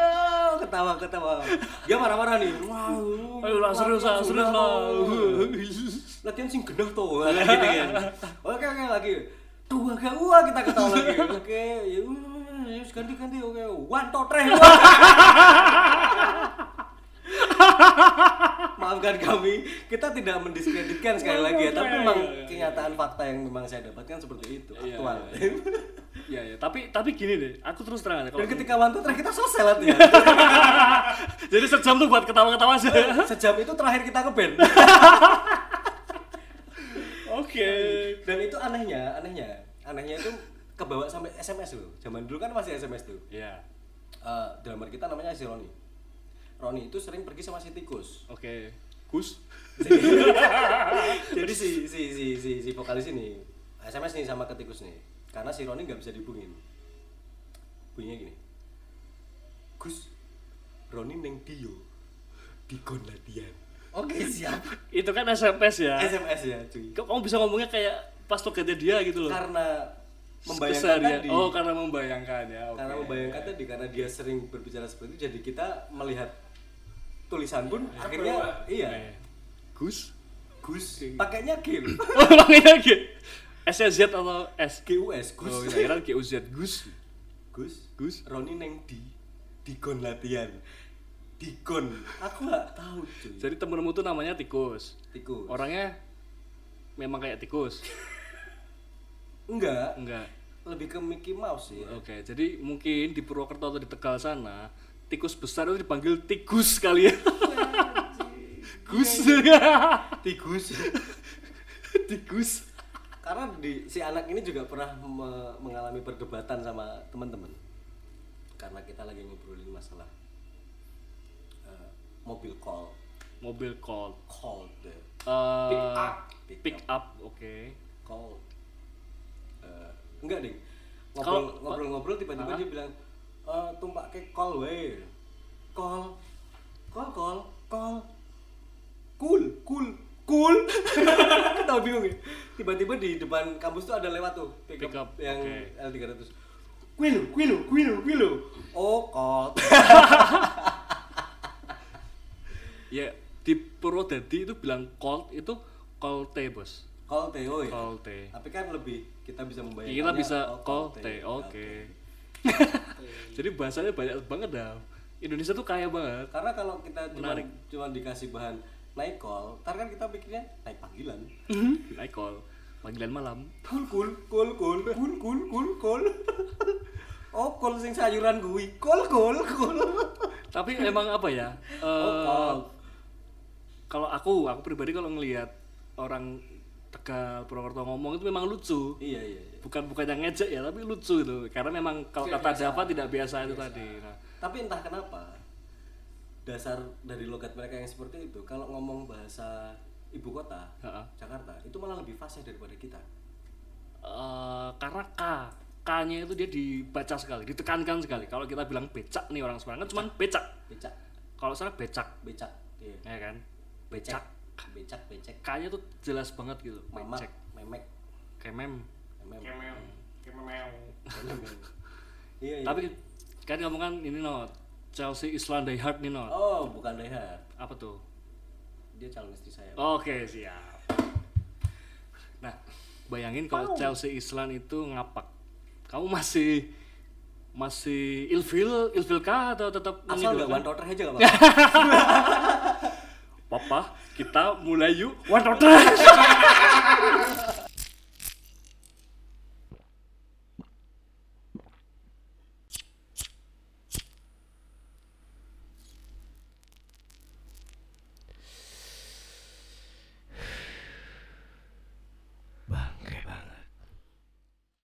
Speaker 1: ketawa ketawa dia marah-marah nih wow
Speaker 2: Ayo lah serius lah, serius lah.
Speaker 1: latihan sing genah tuh gitu kan oke oke lagi dua gak wah kita ketawa lagi oke ya wah, ya wis, ganti ganti oke one two three wah. maafkan kami kita tidak mendiskreditkan sekali lagi ya tapi memang kenyataan fakta yang memang saya dapatkan seperti itu
Speaker 2: Iya,
Speaker 1: aktual
Speaker 2: iya, Iya ya, tapi tapi gini deh, aku terus terang
Speaker 1: dan
Speaker 2: aja kalau
Speaker 1: ketika one two three kita selesai latihan
Speaker 2: jadi sejam tuh buat ketawa-ketawa aja.
Speaker 1: sejam itu terakhir kita ngeband
Speaker 2: Oke.
Speaker 1: dan itu anehnya anehnya anehnya itu kebawa sampai SMS loh zaman dulu kan masih SMS tuh
Speaker 2: Iya.
Speaker 1: Eh, drummer kita namanya si Roni. Roni itu sering pergi sama si tikus.
Speaker 2: Oke. Gus.
Speaker 1: Jadi si si si si, si vokalis ini SMS nih sama ke tikus nih. Karena si Roni nggak bisa dihubungin. Bunyinya gini. Gus, Roni neng Dio. Dikon latihan. Oke, siap.
Speaker 2: Itu kan SMS ya.
Speaker 1: SMS ya, cuy.
Speaker 2: Kok kamu bisa ngomongnya kayak pas lo ganti dia gitu loh.
Speaker 1: Karena membayangkan
Speaker 2: Keseharian.
Speaker 1: tadi.
Speaker 2: Oh, karena membayangkan ya. oke.
Speaker 1: Karena membayangkan tadi karena dia sering berbicara seperti itu jadi kita melihat tulisan pun akhirnya
Speaker 3: Berubah.
Speaker 1: iya.
Speaker 2: Gus.
Speaker 1: Gus pakainya Gil.
Speaker 2: Oh, orangnya lagi. SZ atau S?
Speaker 1: GUS Gus.
Speaker 2: Gus. Oh, kira GUZ Gus.
Speaker 1: Gus.
Speaker 2: Gus.
Speaker 1: Roni neng di Digon latihan. Digon. Aku nggak tahu cuy.
Speaker 2: Jadi temenmu tuh namanya tikus.
Speaker 1: Tikus.
Speaker 2: Orangnya memang kayak tikus.
Speaker 1: Enggak.
Speaker 2: Enggak.
Speaker 1: Lebih ke Mickey Mouse sih.
Speaker 2: Oke, jadi mungkin di Purwokerto atau di Tegal sana, tikus besar itu dipanggil tikus kali ya. Gus.
Speaker 1: Tikus.
Speaker 2: tikus.
Speaker 1: Karena di si anak ini juga pernah me- mengalami perdebatan sama teman-teman. Karena kita lagi ngobrolin masalah eh, mobil call,
Speaker 2: Mobil Colt.
Speaker 1: call the
Speaker 2: Eh,
Speaker 3: Pick up.
Speaker 1: Pick
Speaker 2: Pick up, oke.
Speaker 1: call. Eh, enggak ding. Ngobrol,
Speaker 2: Call-
Speaker 1: ngobrol-ngobrol tiba-tiba dia bilang eh tumpak ke call we. Call. Call call call. Cool, cool, cool. Kita bingung ya. Tiba-tiba di depan kampus tuh ada lewat tuh pick,
Speaker 2: Pick up,
Speaker 1: up, yang
Speaker 2: oke.
Speaker 1: L300 Quilu, Quilu, Quilu, Quilu Oh, kot
Speaker 2: Ya, di Purwodadi itu bilang Colt itu Colte, Bos.
Speaker 1: Kol teh, oi
Speaker 2: Colte.
Speaker 1: ya. Tapi kan lebih, kita bisa membayangkannya
Speaker 2: Kita bisa
Speaker 1: oh, Oke.
Speaker 2: Colte, oke. Jadi bahasanya banyak banget dah. Indonesia tuh kaya banget.
Speaker 1: Karena kalau kita cuma,
Speaker 2: Menarik.
Speaker 1: cuma dikasih bahan naik call Ntar kan kita pikirnya naik panggilan
Speaker 2: Naik call panggilan malam.
Speaker 1: Kul, kul, kul, kul, kul, kul, kul, kul Oh, kul sing sayuran gue Kul, kul, kul
Speaker 2: Eh.
Speaker 1: Oh,
Speaker 2: Tapi emang apa ya? eh,
Speaker 1: Call.
Speaker 2: kalau aku, aku pribadi kalau ngelihat orang Tegal Purwokerto ngomong itu memang lucu.
Speaker 1: Iya, iya, iya
Speaker 2: Bukan bukan yang ngejek ya, tapi lucu gitu. Karena memang kalau kata Jawa tidak biasa itu tadi. Nah,
Speaker 1: Tapi entah kenapa dasar dari logat mereka yang seperti itu kalau ngomong bahasa ibu kota
Speaker 2: ha-ha.
Speaker 1: Jakarta itu malah lebih fasih daripada kita.
Speaker 2: Eh, karena K K-nya itu dia dibaca sekali, ditekankan sekali. Kalau kita bilang becak nih orang Semarang kan cuman becak.
Speaker 1: Becak,
Speaker 2: Kalau sana becak,
Speaker 1: becak, iya.
Speaker 2: ya kan? Becak.
Speaker 1: Becak, becek,
Speaker 2: K-nya tuh jelas banget gitu.
Speaker 1: mamak,
Speaker 2: Becak.
Speaker 1: memek,
Speaker 2: Kemem.
Speaker 1: memem.
Speaker 3: Kemel. Kemel.
Speaker 1: Iya, iya.
Speaker 2: Tapi kan kamu kan ini not Chelsea Island Die Hard nih not.
Speaker 1: Oh, bukan Rehat.
Speaker 2: Apa tuh?
Speaker 1: Dia calon istri saya.
Speaker 2: Oke, siap. Nah, bayangin kalau Chelsea Island itu ngapak. Kamu masih masih ilfil ilfil kah atau tetap
Speaker 1: Asal nggak
Speaker 2: mengidolakan?
Speaker 1: one daughter aja nggak apa-apa.
Speaker 2: Papa, kita mulai yuk. One Daughter.